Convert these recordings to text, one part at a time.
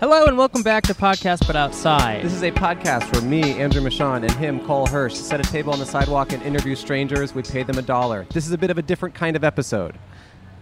Hello and welcome back to Podcast But Outside. This is a podcast where me, Andrew Michon, and him, Cole Hirsch, set a table on the sidewalk and interview strangers. We pay them a dollar. This is a bit of a different kind of episode.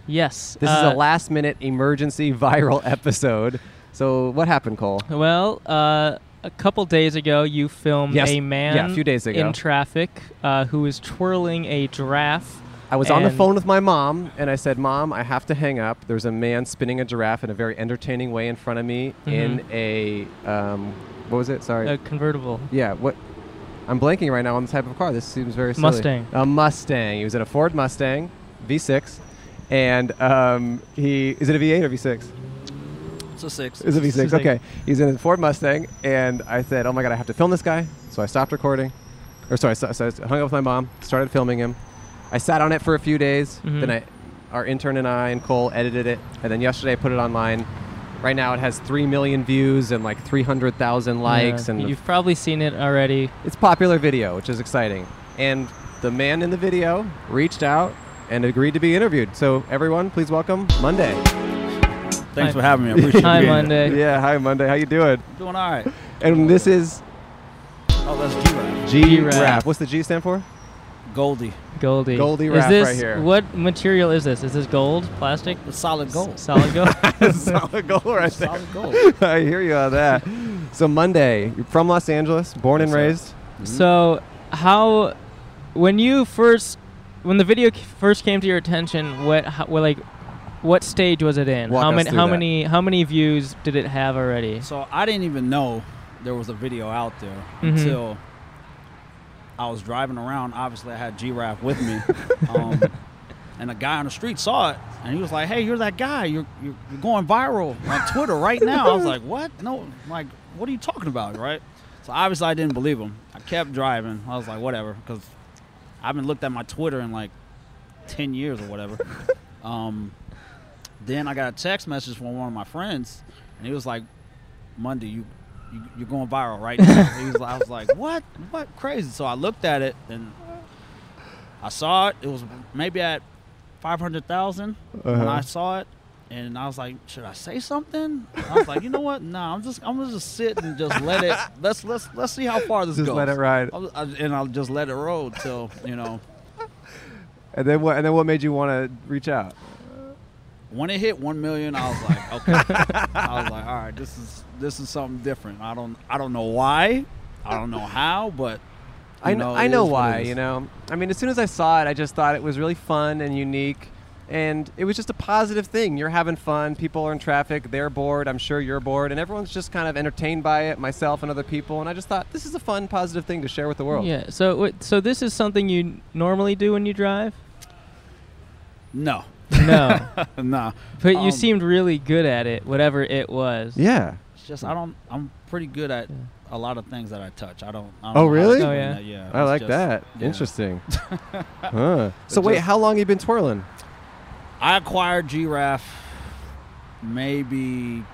yes. This uh, is a last minute emergency viral episode. So, what happened, Cole? Well, uh, a couple days ago, you filmed Yes. a man Yeah, a few days ago. in traffic uh, who is twirling a giraffe. I was on the and- phone with my mom, and I said, Mom, I have to hang up. There's a man spinning a giraffe in a very entertaining way in front of me in a, um, what was it? Sorry. Mm-hmm. A convertible. Yeah, what? I'm blanking right now on the type of car. This seems very silly. Mustang. A Mustang. He was in a Ford Mustang, V6, and um, he is it a V8 or V6? It's a six. It's a V6. It's like- okay, he's in a Ford Mustang, and I said, "Oh my God, I have to film this guy." So I stopped recording, or sorry, so, so I hung up with my mom, started filming him. I sat on it for a few days. Mhm. Then I, our intern and I and Cole edited it, and then yesterday I put it online. Right now it has three million views and like three hundred thousand likes, Yeah. and you've probably seen it already. it's popular video, which is exciting. And the man in the video reached out and agreed to be interviewed. So everyone, please welcome Monday. Hi. Thanks for having me. I appreciate Hi, you being Monday. Hey. Yeah, hi Monday. How you doing? here. Doing all right. And this is Oh, that's G-Rap. G Rap. Rap. What's the G stand for? Goldie. Goldie. Goldie is wrap this, right here. What material is this? Is this gold, plastic, It's solid gold. solid gold? solid goal right there. Solid gold. I hear you on that. So Monday, you're from Los Angeles, born and Yes, sir. raised. So, how, when you first, when the video c- first came to your attention, what, how, well, like, what stage was it in? Walk how us many, through how that. many, how many views did it have already? So I didn't even know there was a video out there Mhm. until I was driving around. Obviously, I had G-Rap with me, um, and a guy on the street saw it, and he was like, "Hey, you're that guy. You're, you're you're going viral on Twitter right now." I was like, "What? No, like, what are you talking about?" Right? So obviously, I didn't believe him. I kept driving. I was like, "Whatever," because I haven't looked at my Twitter in like ten years or whatever. um, then I got a text message from one of my friends, and he was like, Monday, you, you you're going viral right now. He was, I was like, what? What crazy? So I looked at it and I saw it. It was maybe at five hundred thousand when Uh-huh. I saw it, and I was like, should I say something? I was like, you know what? Nah, I'm just I'm gonna just sit and just let it. Let's let's let's see how far this Just goes. let it ride. I'll- I- and I'll just let it roll till you know And then what? And then what made you want to reach out? when it hit one million. I was like, okay. I was like, all right, this is this is something different. I don't I don't know why, I don't know how, but I you know, it I know is what it why. is. You know, I mean, as soon as I saw it, I just thought it was really fun and unique, and it was just a positive thing. You're having fun. People are in traffic. They're bored. I'm sure you're bored, and everyone's just kind of entertained by it. Myself and other people, and I just thought this is a fun, positive thing to share with the world. Yeah. So, wait, so this is something you n- normally do when you drive? No, No, nah. but you Um, seemed really good at it, whatever it was. Yeah. It's just I don't. I'm pretty good at a lot of things that I touch. I don't. I don't Oh, know how to really? explain Oh, yeah. that. yeah. I it's like just- that. yeah. Interesting. huh. So It wait, just- how long you been twirling? I acquired Giraffe maybe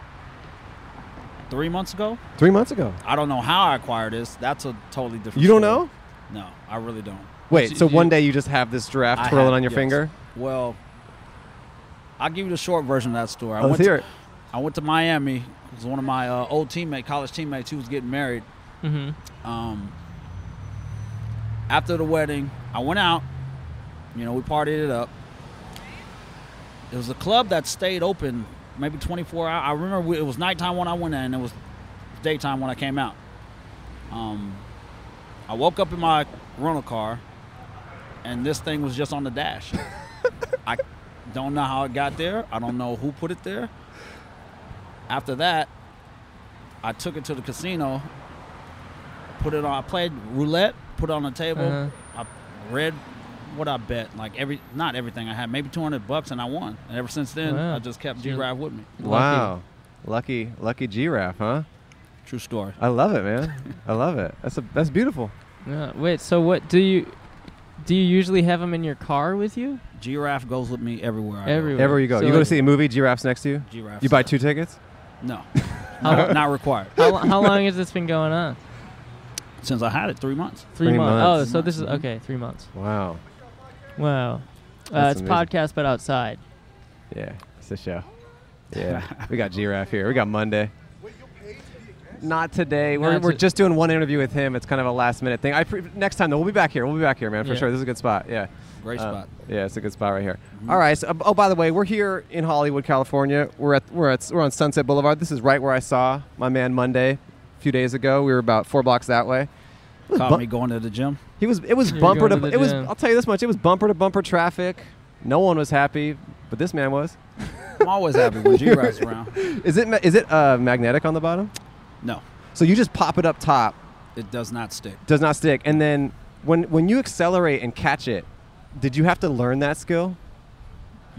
three months ago. Three months ago. I don't know how I acquired this. That's a totally different. You don't story. know? No, I really don't. Wait. You- So you- one day you just have this giraffe I twirling have- on your yes. finger. Well, I'll give you the short version of that story. I Let's went hear to, it. I went to Miami. It was one of my uh, old teammate, college teammates. He was getting married. Mm-hmm. Um, after the wedding, I went out. You know, we partied it up. It was a club that stayed open maybe 24 hours. I remember we, it was nighttime when I went in, and it was daytime when I came out. Um, I woke up in my rental car, and this thing was just on the dash. I don't know how it got there. I don't know who put it there. After that, I took it to the casino, put it on. I played roulette, put it on the table. Uh-huh. I read what I bet, like every not everything I had, maybe 200 bucks, and I won. And ever since then, Wow. I just kept You're- G-Ride with me. Lucky. Wow. Lucky, lucky giraffe, huh? True story. I love it, man. I love it. That's a, that's beautiful. Yeah. Wait. So, what do you do? You usually have them in your car with you? Giraffe goes with me everywhere. I go. Everywhere. Everywhere you go, So you go to like- see a movie. Giraffes next to you. Giraffe. You buy two tickets. No, How, not, lo- not required. how, lo- how long has this been going on? Since I had it, three months. Three, Three months. months. Oh, so this is Mhm. okay. Three months. Wow. Wow. Uh, That's it's amazing. podcast, but outside. Yeah, it's a show. Yeah, we got Giraffe here. We got Monday. Not today. We're, Not we're to- just doing one interview with him. It's kind of a last minute thing. I pre- next time though, we'll be back here. We'll be back here, man, for Yeah. sure. This is a good spot. Yeah. Great Um, spot. Yeah, it's a good spot right here. Mm-hmm. All right. So, oh, by the way, we're here in Hollywood, California. We're at we're at we're on Sunset Boulevard. This is right where I saw my man Monday a few days ago. We were about four blocks that way. It was bu- Caught me going to the gym. He was. It was You're bumper going to. to the it was. gym. I'll tell you this much. It was bumper to bumper traffic. No one was happy, but this man was. I'm always happy when G Raps around. Is it ma- is it uh, magnetic on the bottom? No, So you just pop it up top, it does not stick. does not stick, and then when when you accelerate and catch it, did you have to learn that skill?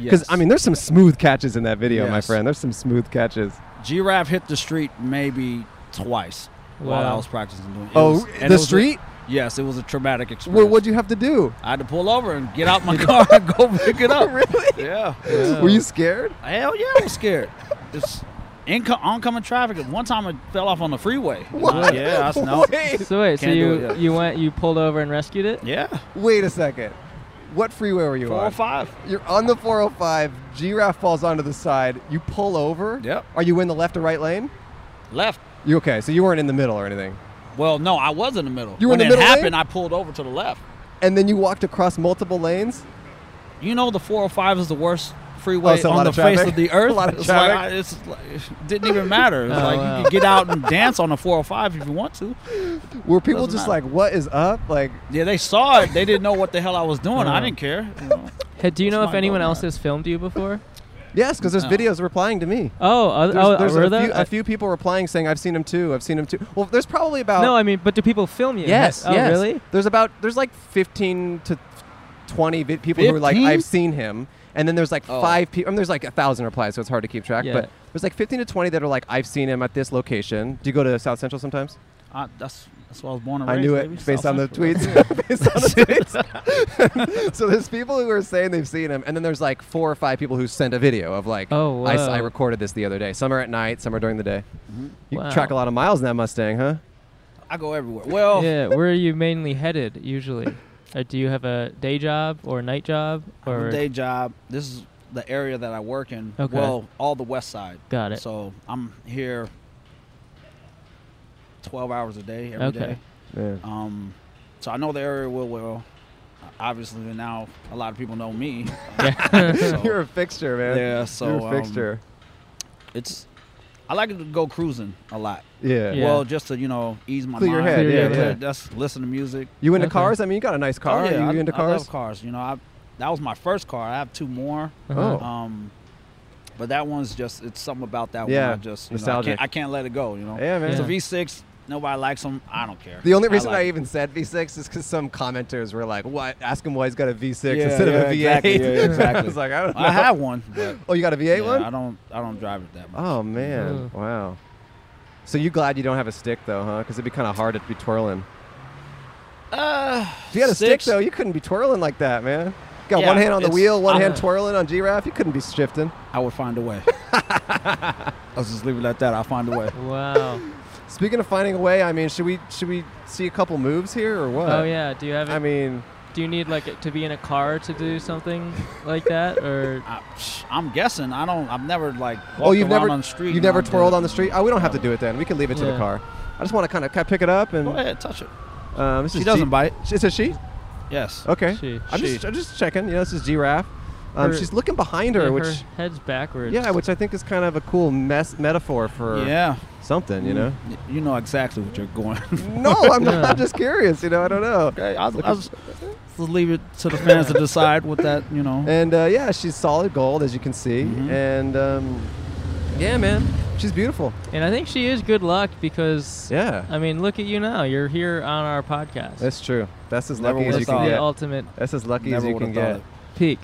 Because Yes. I mean, there's some smooth catches in that video, my Yes. friend. There's some smooth catches. Giraffe hit the street maybe twice while I Wow. was practicing doing it. Oh, was- the and it was a- street? yes, it was a traumatic experience. Well, what'd you have to do? I had to pull over and get out my car and go pick it up. Really? Yeah. Were you scared? Hell yeah, I was scared. It's inco- oncoming traffic. At One time, it fell off on the freeway. What? Yeah, that's no. Wait, So wait, so Can't do you it, yeah. you went you pulled over and rescued it? Yeah, wait a second. What freeway were you four on? or five. You're on the 405. Giraffe falls onto the side. You pull over. Yep. Are you in the left or right lane? Left. You okay? So you weren't in the middle or anything. Well, no, I was in the middle. You were in when the it middle lane? happened, I pulled over to the left. And then you walked across multiple lanes. You know, the 405 is the worst freeway Oh, so a lot on the of face traffic? of the earth. A lot of it's like, traffic? I- it's like- it didn't even matter. It's Oh, like wow. you can get out and dance on the 405 if you want to. Were people Doesn't just matter. like, "What is up?" Like, Yeah, they saw it. They didn't know what the hell I was doing. I Oh. didn't care. you know. Hey, do you That's know if my anyone goal, else man. has filmed you before? yes, because there's No. videos replying to me. Oh, oth- There's, oh, there's were a, there? few, a few people replying saying, "I've seen him too. I've seen him too." Well, there's probably about No, I mean, but do people film you? oh. yes, Oh, yes. really? There's about there's like 15 to 20 vi- people who are like, 15? "I've seen him," and then there's like Oh. five people. I mean, there's like a thousand replies, so it's hard to keep track. Yeah. But there's like 15 to 20 that are like, "I've seen him at this location." Do you go to South Central sometimes? I, that's that's what I was born and I raised. knew baby. it based South on the Central. tweets. based on the tweets. so there's people who are saying they've seen him, and then there's like four or five people who sent a video of like, Oh, I, s- I wow. recorded this the other day. Some are at night, some are during the day. You Wow. track a lot of miles in that Mustang, huh? I go everywhere. Oh. Well, Yeah. Where are you mainly headed usually? Or do you have a day job or a night job I have or a day job. This is the area that I work in. Okay. Well, all the west side. Got it. So I'm here 12 hours a day every day. Okay. Yeah. Um, so I know the area real well. Obviously, now a lot of people know me. so You're a fixture, man. Yeah, so, You're a um, fixture. it's I like to go cruising a lot. yeah. Yeah. Well, just to you know ease my Clear your mind. head, yeah, yeah. That's listen to music. You into Okay. cars? I mean, you got a nice car. Oh, yeah, Are you I, into I cars? love cars. You know, I that was my first car. I have two more. Uh-huh. Oh. Um, but that one's just it's something about that Yeah, one. I just you know, I, nostalgic. can't, I can't let it go. You know, Yeah, man. it's a Yeah. V6. Nobody likes them. I don't care. The only reason I, like it. even said V6 is because some commenters were like, "What? Ask him why he's got a V6 Yeah, instead of a V8." yeah, exactly, yeah, yeah, I exactly. was like, I don't know. I have one. But oh, you got a V8 yeah, one? I don't. I don't drive it that much. Oh man! Mm-hmm. Wow. So you glad you don't have a stick though, huh? Because it'd be kind of hard to be twirling. Uh-huh. Uh, If you had a six, stick though, you couldn't be twirling like that, man. Got one Yeah, hand on the it's- wheel, one I- hand twirling on Giraffe. You couldn't be shifting. I would find a way. I'll just leave it at that. I'll find a way. oh. Uh, Wow. Speaking of finding a way, I mean, should we should we see a couple moves here or what? oh yeah. Do you have? I mean, do you need like to be in a car to do something like that or? I, am guessing. I don't. I've never like. Walked oh, you've around never on the street. you've and never I did twirled it. on the street. Oh, we don't have to do it then. We can leave it to the Yeah. car. I just want to kind of, kind of pick it up and. Go ahead, touch it. Um, this She is doesn't G- bite. It's a she. Yes. Okay. She. I'm She. just I'm just checking. You know, this is Giraffe. Um, Her- she's looking behind her, Yeah, which. her head's backwards. Yeah, which I think is kind of a cool mess metaphor for Yeah. something, you know. Y- You know exactly what you're going. no, I'm not. Yeah. I'm just curious. You know, I don't know. Mm. okay, I'll, I'll just just leave it to the fans to decide what that you know. And uh, yeah, she's solid gold, as you can see. Mm-hmm. And um, yeah, man, she's beautiful. And I think she is good luck because Yeah, I mean, look at you now. You're here on our podcast. that's true. That's as Never lucky as would've you the can thought. get. ultimate That's as lucky as Never you would've can thought get. peak.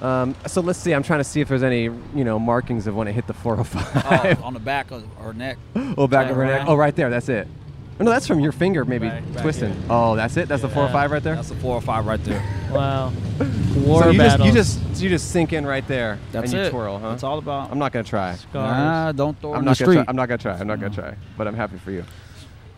Um, so let's see. I'm trying to see if there's any, you know, markings of when it hit the 405. it. Oh, on the back of her neck. Oh, back of her Back neck. around. Oh, right there. That's it. Oh, no, that's from your finger, maybe Back- back twisting. here. oh, that's it. That's the Yeah. 405 right there. That's a four or five right there. Wow. War so you just, battles. you just you just sink in right there That's and you it. twirl, huh? That's all about. I'm not gonna try. Scars. Nah, don't throw it I'm in not the gonna street. try. I'm not gonna try. I'm not gonna try. But I'm happy for you.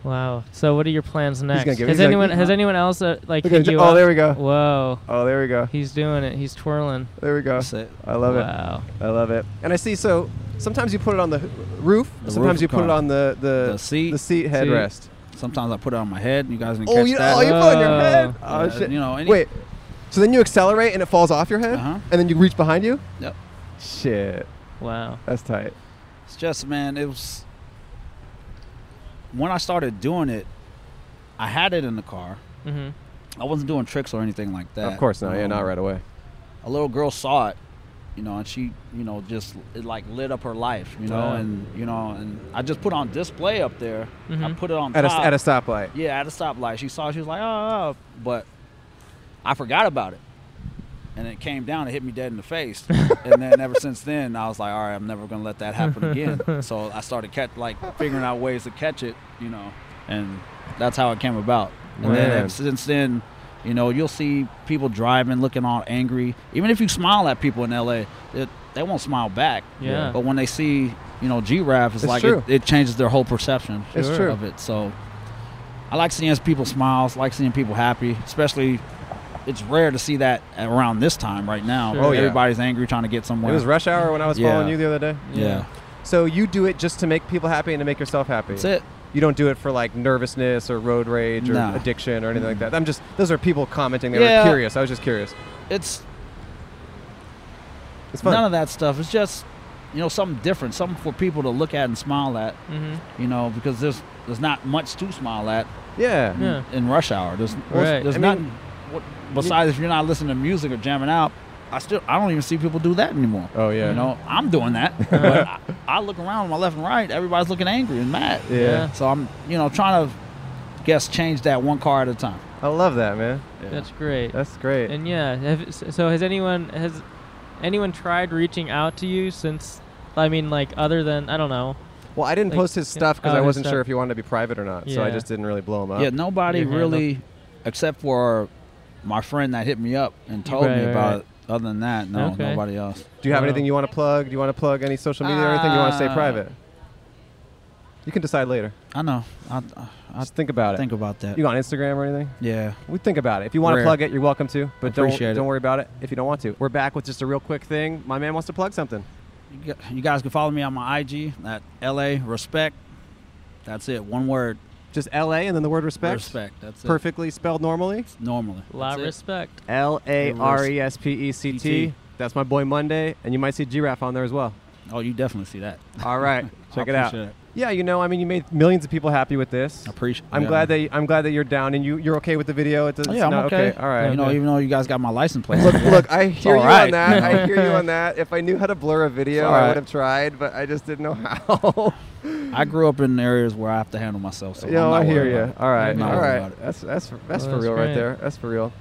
Wow. So what are your plans next? gonna give- has he's like- anyone has anyone else uh, like Look at hit J- you oh, up? there we go. Whoa. Oh, there we go. He's doing it. He's twirling. There we go. That's it. I love it. wow. I love it. And I see. So sometimes you put it on the h- roof. The sometimes roof you put it car. on the the, The seat. the seat headrest. Sometimes I put it on my head. You guys didn't Oh, catch you, that. oh, you put it on your head. Oh. Oh Yeah, shit. you know, any- Wait. So then you accelerate and it falls off your head, Uh-huh. and then you reach behind you. Yep. Shit, Wow. that's tight. It's just, man, it was. When I started doing it, I had it in the car. Mm-hmm. I wasn't doing tricks or anything like that. Of course not. Yeah, Um, not right away. A little girl saw it, you know, and she, you know, just it like lit up her life, you know, Wow. and you know, and I just put on display up there. I Mhm. put it on At a, top. at a stoplight. Yeah, at a stoplight. She saw. it, She was like, "Oh," oh," but I forgot about it, and it came down and hit me dead in the face. and then ever since then, I was like, "All right, I'm never gonna let that happen again." so I started catch like figuring out ways to catch it, you know, and that's how it came about. And then Man. ever since then, you know, you'll see people driving looking all angry. Even if you smile at people in LA, it, they won't smile back. Yeah. But when they see, you know, G-Raff, it's, It's like true. it, it changes their whole perception It's Sure. true. of it. So I like seeing people smiles, like seeing people happy, especially it's rare to see that around this time right now. Sure. Oh, yeah. Everybody's angry trying to get somewhere. It was rush hour when I was Yeah. following you the other day. yeah. So you do it just to make people happy and to make yourself happy. That's it. You don't do it for like nervousness or road rage or No. addiction or anything like that. I'm just those are people commenting. They Yeah. were curious. I was just curious. It's It's fun. none of that stuff. It's just you know, something different, something for people to look at and smile at, Mm-hmm. you know, because there's there's not much to smile at yeah. Yeah. in rush hour. There's Right. there's I nothing what, besides if you're not listening to music or jamming out. I still I don't even see people do that anymore. Oh yeah. You know, I'm doing that. but I, I look around my left and right, everybody's looking angry and mad. Yeah. Yeah. So I'm, you know, trying to guess change that one car at a time. I love that, man. That's great. That's great. and yeah, have, so has anyone has anyone tried reaching out to you since? I mean, like other than I don't know. well, I didn't like- post his stuff because Oh, I his wasn't stuff. sure if he wanted to be private or not. So I Yeah. just didn't really blow him up. yeah, nobody Your Uh, handle. really, except for my friend that hit me up and told Right, me right, about it. Other than that, no, Okay. nobody else. Do you have Wow. anything you want to plug? Do you want to plug any social media or anything you want to stay Uh, private? You can decide later. I know. I, I, I Just think about think about that. it. You on Instagram or anything? yeah. We think about it. If you want to Rare. plug it, you're welcome to. But don't Appreciate it. don't worry about it if you don't want to. We're back with just a real quick thing. My man wants to plug something. You gu- You guys can follow me on my IG at LA Respect. That's it. One word. Just L.A. and then the word respect. Respect. That's it. Perfectly spelled normally. Normally. La That's it. respect. L A R E S P E C T. T. That's my boy Monday, and you might see Giraffe on there as well. Oh, you definitely see that. All right, check I it out. appreciate it. Yeah, you know, I mean, you made millions of people happy with this. I appreciate. I'm yeah. Oh, glad that I'm glad that you're down and you you're okay with the video. It's, it's yeah, I'm not okay. All right. You know, even though you guys got my license plate. look, look, I hear you all right. on that. I hear you on that. If I knew how to blur a video, all I right. would have tried, but I just didn't know how. I grew up in areas where I have to handle myself. So Yeah, I'm not I hear worried you. about it. All right, I'm not all worried right. about it. That's that's for, that's Well, for that's real right great. there. That's for real.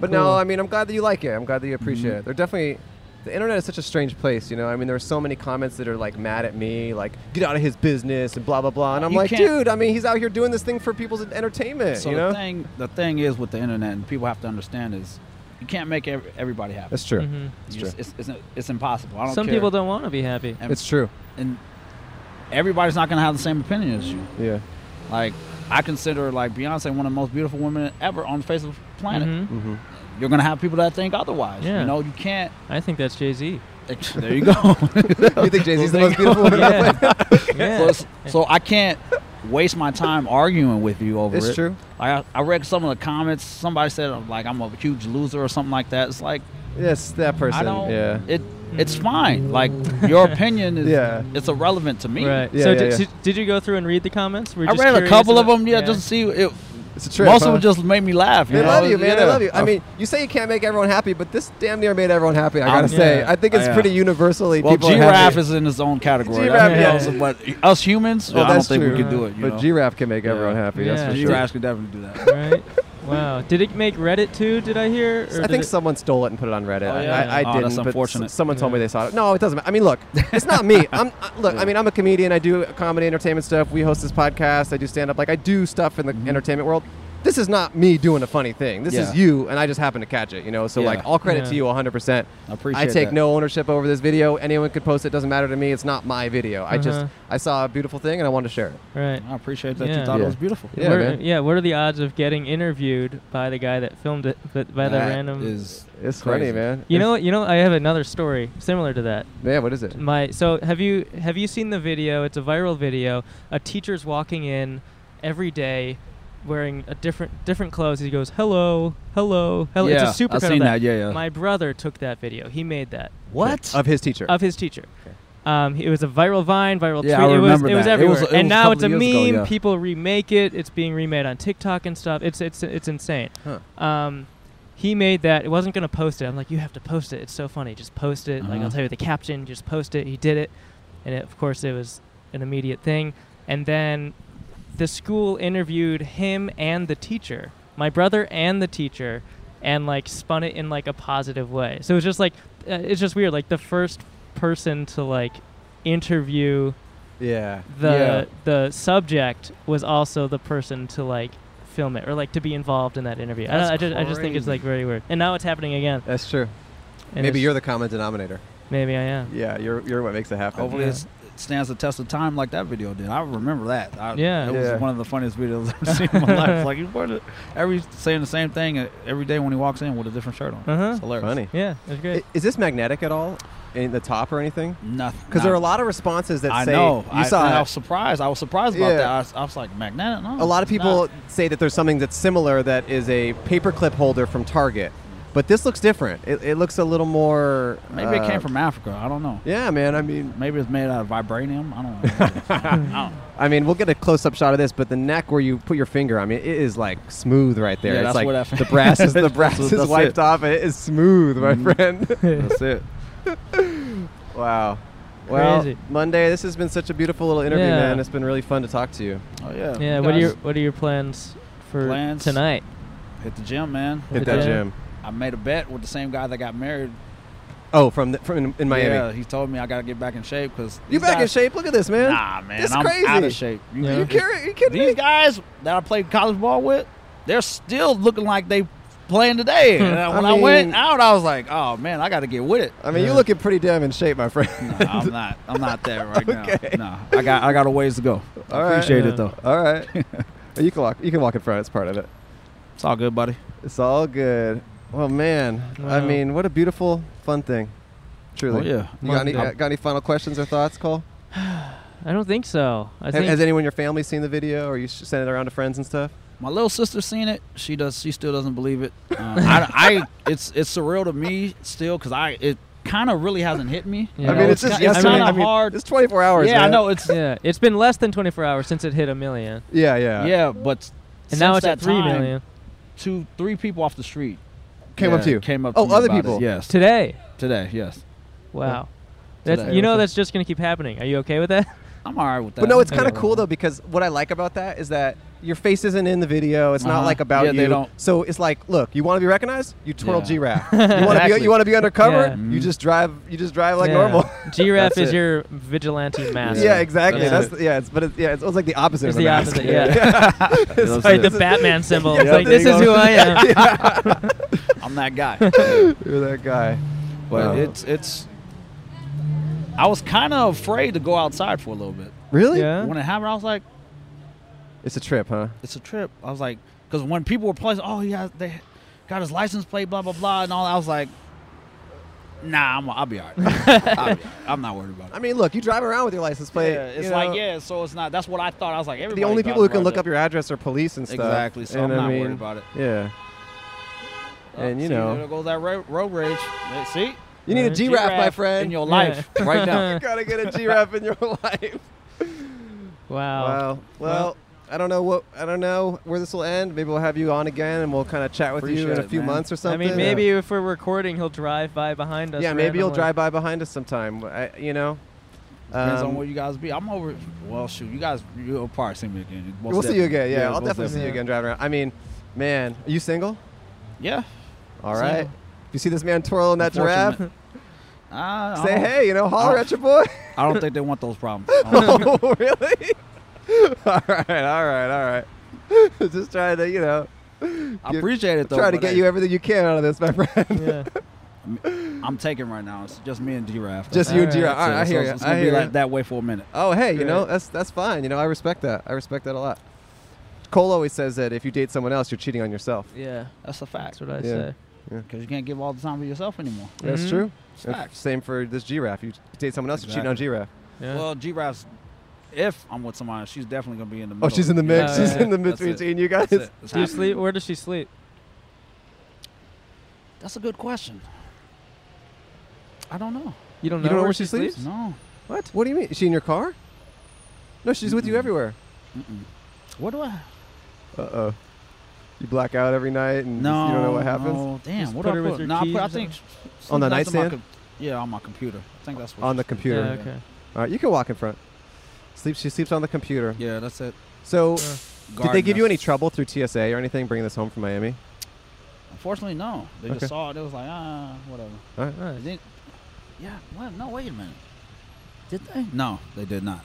But Cool. no, I mean, I'm glad that you like it. I'm glad that you appreciate Mm-hmm. it. They're definitely. The internet is such a strange place, you know. I mean, there are so many comments that are like mad at me, like "get out of his business" and blah blah blah. And I'm You like, can't- dude, I mean, he's out here doing this thing for people's entertainment, So you the know. thing, the thing is with the internet, and people have to understand is, you can't make ev- everybody happy. That's true. Mhm. Mm-hmm. You just- it's, it's, it's impossible. I don't Some care. people don't want to be happy. And, It's true. and everybody's not gonna have the same opinion as you. Yeah. Like I consider like Beyonce one of the most beautiful women ever on the face of the planet. Mhm. Mm-hmm. You're gonna have people that think otherwise. Yeah. You know, you can't. I think that's Jay Z. There you go. you think Jay Z's the most Well, beautiful woman? yeah. So, yeah. it's- so I can't waste my time arguing with you over It's it. true. Like, I, I read some of the comments. Somebody said I'm like I'm a huge loser or something like that. It's like Yes, that person. I don't. yeah. It it's fine. Like your opinion is Yeah. it's irrelevant to me. Right. Yeah, so yeah, did, yeah. did- did you go through and read the comments? Were you I just read a curious couple of about- them. Yeah, just to see it. it's a trip. most huh? of them just made me laugh. They know? love you, man. They Yeah. love you. I mean, you say you can't make everyone happy, but this damn near made everyone happy. I gotta Um, say, yeah. I think it's Yeah. pretty universally. well, people are giraffe happy. is in his own category. Giraffe, That's- yeah. But us humans, Well, I don't that's think true. we could do it. You but know? giraffe can make everyone Yeah. happy. Yeah. That's for sure. Giraffes could definitely do that. Right. wow. Did it make Reddit too? Did I hear? or I did think it- someone stole it and put it on Reddit. Oh, I- yeah? I, I Oh, that's didn't. but s- unfortunate. someone told me Yeah. they saw it. No, it doesn't. matter. I mean, look, it's not me. I'm I, look. I Yeah. mean, I'm a comedian. I do comedy, entertainment stuff. We host this podcast. I do stand up. Like, I do stuff in the entertainment world. this is not me doing a funny thing. This Mm-hmm. Yeah. is you, and I just happen to catch it. You know, so Yeah. like all credit Yeah. to you 100. percent I appreciate I take that. no ownership over this video. Anyone could post it. Doesn't matter to me. It's not my video. I just Uh-huh. I saw a beautiful thing and I wanted to share it. Right. I appreciate that Yeah. you thought Yeah. it was beautiful. Yeah, What are- man. yeah. What are the odds of getting interviewed by the guy that filmed it? But by the That random. is It's funny, crazy. man. you It's- know. You know. I have another story similar to that. man. What is it? My. So have you have you seen the video? It's a viral video. A teacher's walking in every day, wearing a different different clothes. He goes, "Hello, hello, hello." yeah, it's a supercut I've of seen that. that. Yeah, yeah. My brother took that video. He made that what? Of his teacher. of his teacher. Um, it was a viral Vine, viral Yeah, tweet. I it was remember it was that. It everywhere, was- it and was a now it's a meme. couple of years ago, yeah. People remake it. It's being remade on TikTok and stuff. It's it's it's insane. Huh. Um, he made that. It wasn't gonna post it. I'm like, you have to post it. It's so funny. Just post it. Like Uh-huh. I'll tell you the caption. Just post it. He did it, and it, of course it was an immediate thing. And then the school interviewed him and the teacher, my brother and the teacher, and like spun it in like a positive way. So it's just like uh, it's just weird. Like the first person to like interview yeah. the Yeah. the subject was also the person to like film it or like to be involved in that interview. I, That's don't- I just I just think it's crazy. like very weird. And now it's happening again. That's true. And maybe it's- you're the common denominator. maybe I am. Yeah, you're you're what makes it happen. Hopefully Yeah. it's, it stands the test of time like that video did. I remember that. I, Yeah. It was Yeah. one of the funniest videos I've seen in my life. Like, he's wearing it- every saying the same thing uh, every day when he walks in with a different shirt on. Uh-huh. It's hilarious. Funny. Yeah, that's I- great. Is this magnetic at all in the top or anything? Nothing. Because there are a lot of responses that I say know. you I, saw and I it. was surprised. I was surprised about Yeah. that. I was, I was like, magnetic. No, A lot of it's not. people say that there's something that's similar that is a paperclip holder from Target, but this looks different. It, it looks a little more. Maybe it uh, came from Africa. I don't know. Yeah, man. I mean, Maybe it's made out of vibranium. I don't know. I don't know. I mean, we'll get a close-up shot of this, but the neck where you put your finger, I mean, it is like smooth right there. Yeah, it's that's like what I fi- the brass is the brass That's- is that's wiped it. Mm-hmm. off, and it is smooth, my friend. That's it. wow. Well, Crazy. Monday, this has been such a beautiful little interview, Yeah. man. It's been really fun to talk to you. Oh yeah. Yeah, You what are guys your what are your plans for Plans? tonight? hit the gym, man? Hit that gym. I made a bet with the same guy that got married Oh, from the, from in, in Miami. Yeah, he told me I gotta get back in shape because You back in shape? Look at this, man. Nah, man, This is I'm crazy. out of shape. You, Yeah. You, kidding, you kidding me? these guys that I played college ball with, they're still looking like they playing today. And I when I, mean- went out, I was like, oh man, I gotta get with it. I mean, Yeah. you're looking pretty damn in shape, my friend. No, I'm not. I'm not there right Okay. now. No, I got I got a ways to go. All I right. appreciate Yeah. it though. All right. you can walk. You can walk in front. It's part of it. It's all good, buddy. It's all good. Well, man. I Wow. mean, what a beautiful, fun thing. Truly. Oh, yeah. You got any, uh, Monday. got any final questions or thoughts, Cole? I don't think so. I Ha- think Has anyone in your family seen the video, or you sh- sent it around to friends and stuff? My little sister's seen it. She does. She still doesn't believe it. Um, I, I- it's it's surreal to me still because I it kind of really hasn't hit me. Yeah. I mean, It's it's, just ki- it's yesterday. kinda I mean, hard. It's 24 hours. yeah, I man. know it's yeah, yeah, it's been less than 24 hours since it hit a million, Yeah, yeah. but and now since it's that at three million time, two, three people off the street Came up to you. Came up. Oh, to me other about it. people. Yes, today. today. Yes, Wow. Today. That's, you know that's just gonna keep happening. Are you okay with that? I'm all right with that. But no, it's Okay. kind of cool though because what I like about that is that your face isn't in the video. It's not Uh-huh. like about Yeah, you. they don't- So it's like, look, you want to be recognized? You twirl Yeah. G-Rap. you want to be Exactly. Mm-hmm. you want to be undercover? Yeah. You just drive you just drive like Yeah. normal. Giraffe That's is it. your vigilante master. yeah, exactly. Yeah. That's the, yeah, it's but it's, yeah, it's almost like the opposite It's of a the mask. opposite, yeah. It's That's like it. the this is- Batman symbol. Yeah, It's like there this you is go. who I am. I'm that guy. You're that guy. but Wow. it's it's. I was kind of afraid to go outside for a little bit. Really? Yeah. When it happened, I was like, It's a trip, huh? it's a trip. I was like, because when people were playing, oh yeah, they got his license plate, blah blah blah, and all. I was like, nah, I'm, I'll be all right. I'll be all right. I'm not worried about it. I mean, look, you drive around with your license plate. yeah, it's you like know, yeah, so it's not. That's what I thought. I was like, everybody The only thought people who can about look that. up your address are police and stuff. Exactly, so And I'm I not worried mean, about it. Yeah. Oh, and you see, know. there goes that ro- road rage. Hey, See, You need a Uh, G-Rap, my Giraffe friend. in your life right now. You gotta get a G-Rap in your life. Oh. Wow. Wow. Well, I don't know what I don't know where this will end. Maybe we'll have you on again, and we'll kind of chat with you in Appreciate a it, few man. months or I something. mean, maybe if we're recording, he'll drive by behind us. Yeah, maybe you'll randomly. drive by behind us sometime. I, you know. Depends Um, on where you guys be. I'm over. Well, shoot, you guys, you'll probably see me again. Most we'll see you definitely. again. Yeah, I'll most definitely see you again driving around. I mean, man, are you single? Yeah. All right. Single. If you see this man twirling that giraffe, Unfortunate. Oh. I, I say don't- hey. You know, holler I'll- at your boy. I don't think they want those problems. I don't- oh, really? all right, all right, all right. Just trying to, you know, I Get- appreciate it though. Try to but, get hey, you everything you can out of this, my friend. yeah. I'm taking right now. It's just me and Giraffe. Just you and That's it. Giraffe. All right, I So hear it's- ya. It's I gonna be hear ya. like that way for a minute. Oh, hey, you know Right. that's that's fine. You know, I respect that. I respect that a lot. Cole always says that if you date someone else, you're cheating on yourself. Yeah. That's a That's fact. what I Yeah. say. Because you can't give all the time to yourself anymore. That's Mhm. true. It's And facts. Same for this giraffe. You date someone else, you're cheating on giraffe. Yeah. Well, Giraffe's. If I'm with somebody, she's definitely gonna be in the Oh, middle. she's in the mix. Yeah, she's yeah, in the mix That's it. between you guys. That's, it. It's do you happening. sleep? Where does she sleep? That's a good question. I don't know. You don't know, You don't know where, where she she sleeps? sleeps? No. What? What do you mean? Is she in your car? No, she's with you Mm-mm. everywhere. Mm-mm. What do I? Uh oh. You black out every night and No. you don't know what happens. No. Damn. Just what put do her I with put? your No, I, keys put, I or think. On the sometimes nightstand? my com- yeah, on my computer. I think that's what. On the she said. computer. Yeah, Yeah. okay. All right, you can walk in front. Sleeps. She sleeps on the computer. Yeah, that's it. Yeah. So, did they Garden, give you that's- any trouble through TSA or anything bringing this home from Miami? Unfortunately, no. They Okay. just saw it. It was like, ah, whatever. Nice. They didn't- yeah. Well, no. Wait a minute. Did they? No, they did not.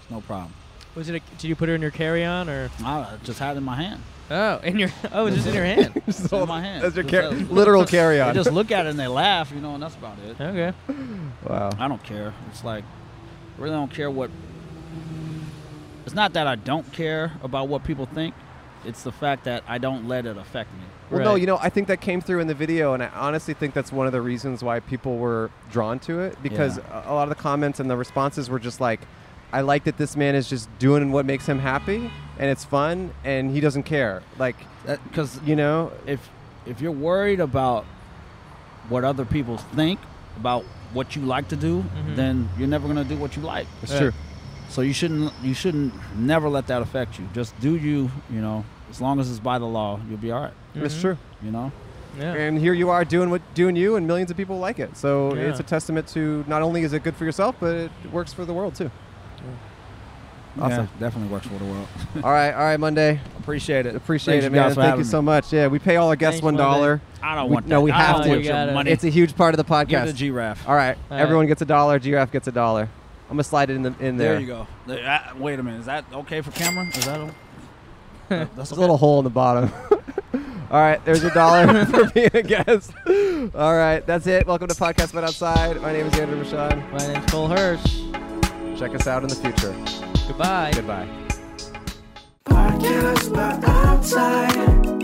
It's no problem. Was it? A, did you put her in your carry-on or? I just had it in my hand. Oh, in your. Oh, it was just in your Mm-hmm. hand. It's in my hand. That's your Just car- that- literal carry They on. just look at it and they laugh, you know, and that's about it. Okay. Wow. I don't care. It's like I really don't care what. It's not that I don't care about what people think. It's the fact that I don't let it affect me. Well, no, Right. you know, I think that came through in the video, and I honestly think that's one of the reasons why people were drawn to it because a a lot of the comments and the responses were just like, I like that this man is just doing what makes him happy, and it's fun, and he doesn't care. Like, Because you know, if if you're worried about what other people think about what you like to do, Mhm. then you're never gonna do what you like. it's Yeah. true. So you shouldn't you shouldn't never let that affect you. Just do you, you know. As long as it's by the law, you'll be all right. It's Mhm. true. You know. Yeah. And here you are doing what doing you, and millions of people like it. So Yeah. it's a testament to not only is it good for yourself, but it works for the world too. Awesome. Yeah, definitely works for the world. all right, all right, Monday. Appreciate it. Appreciate Thanks it, you guys man. for Thank having you me. so much. Yeah, we pay all our guests Thanks, one dollar. I don't We- want no, that. we I have don't to. want your Gotta- money. It's a huge part of the Give podcast. the giraffe. All right, All right. everyone gets a dollar. Giraffe gets a dollar. I'm gonna slide it in the in there. There you go. There- I- wait a minute. Is that okay for camera? Is that o- that- that's There's a little hole in the bottom. All right, there's a dollar for being a guest. All right, that's it. Welcome to Podcast But Outside. My name is Andrew Rashawn. My name's Cole Hirsch. Check us out in the future. Goodbye. Goodbye. Podcast, but outside.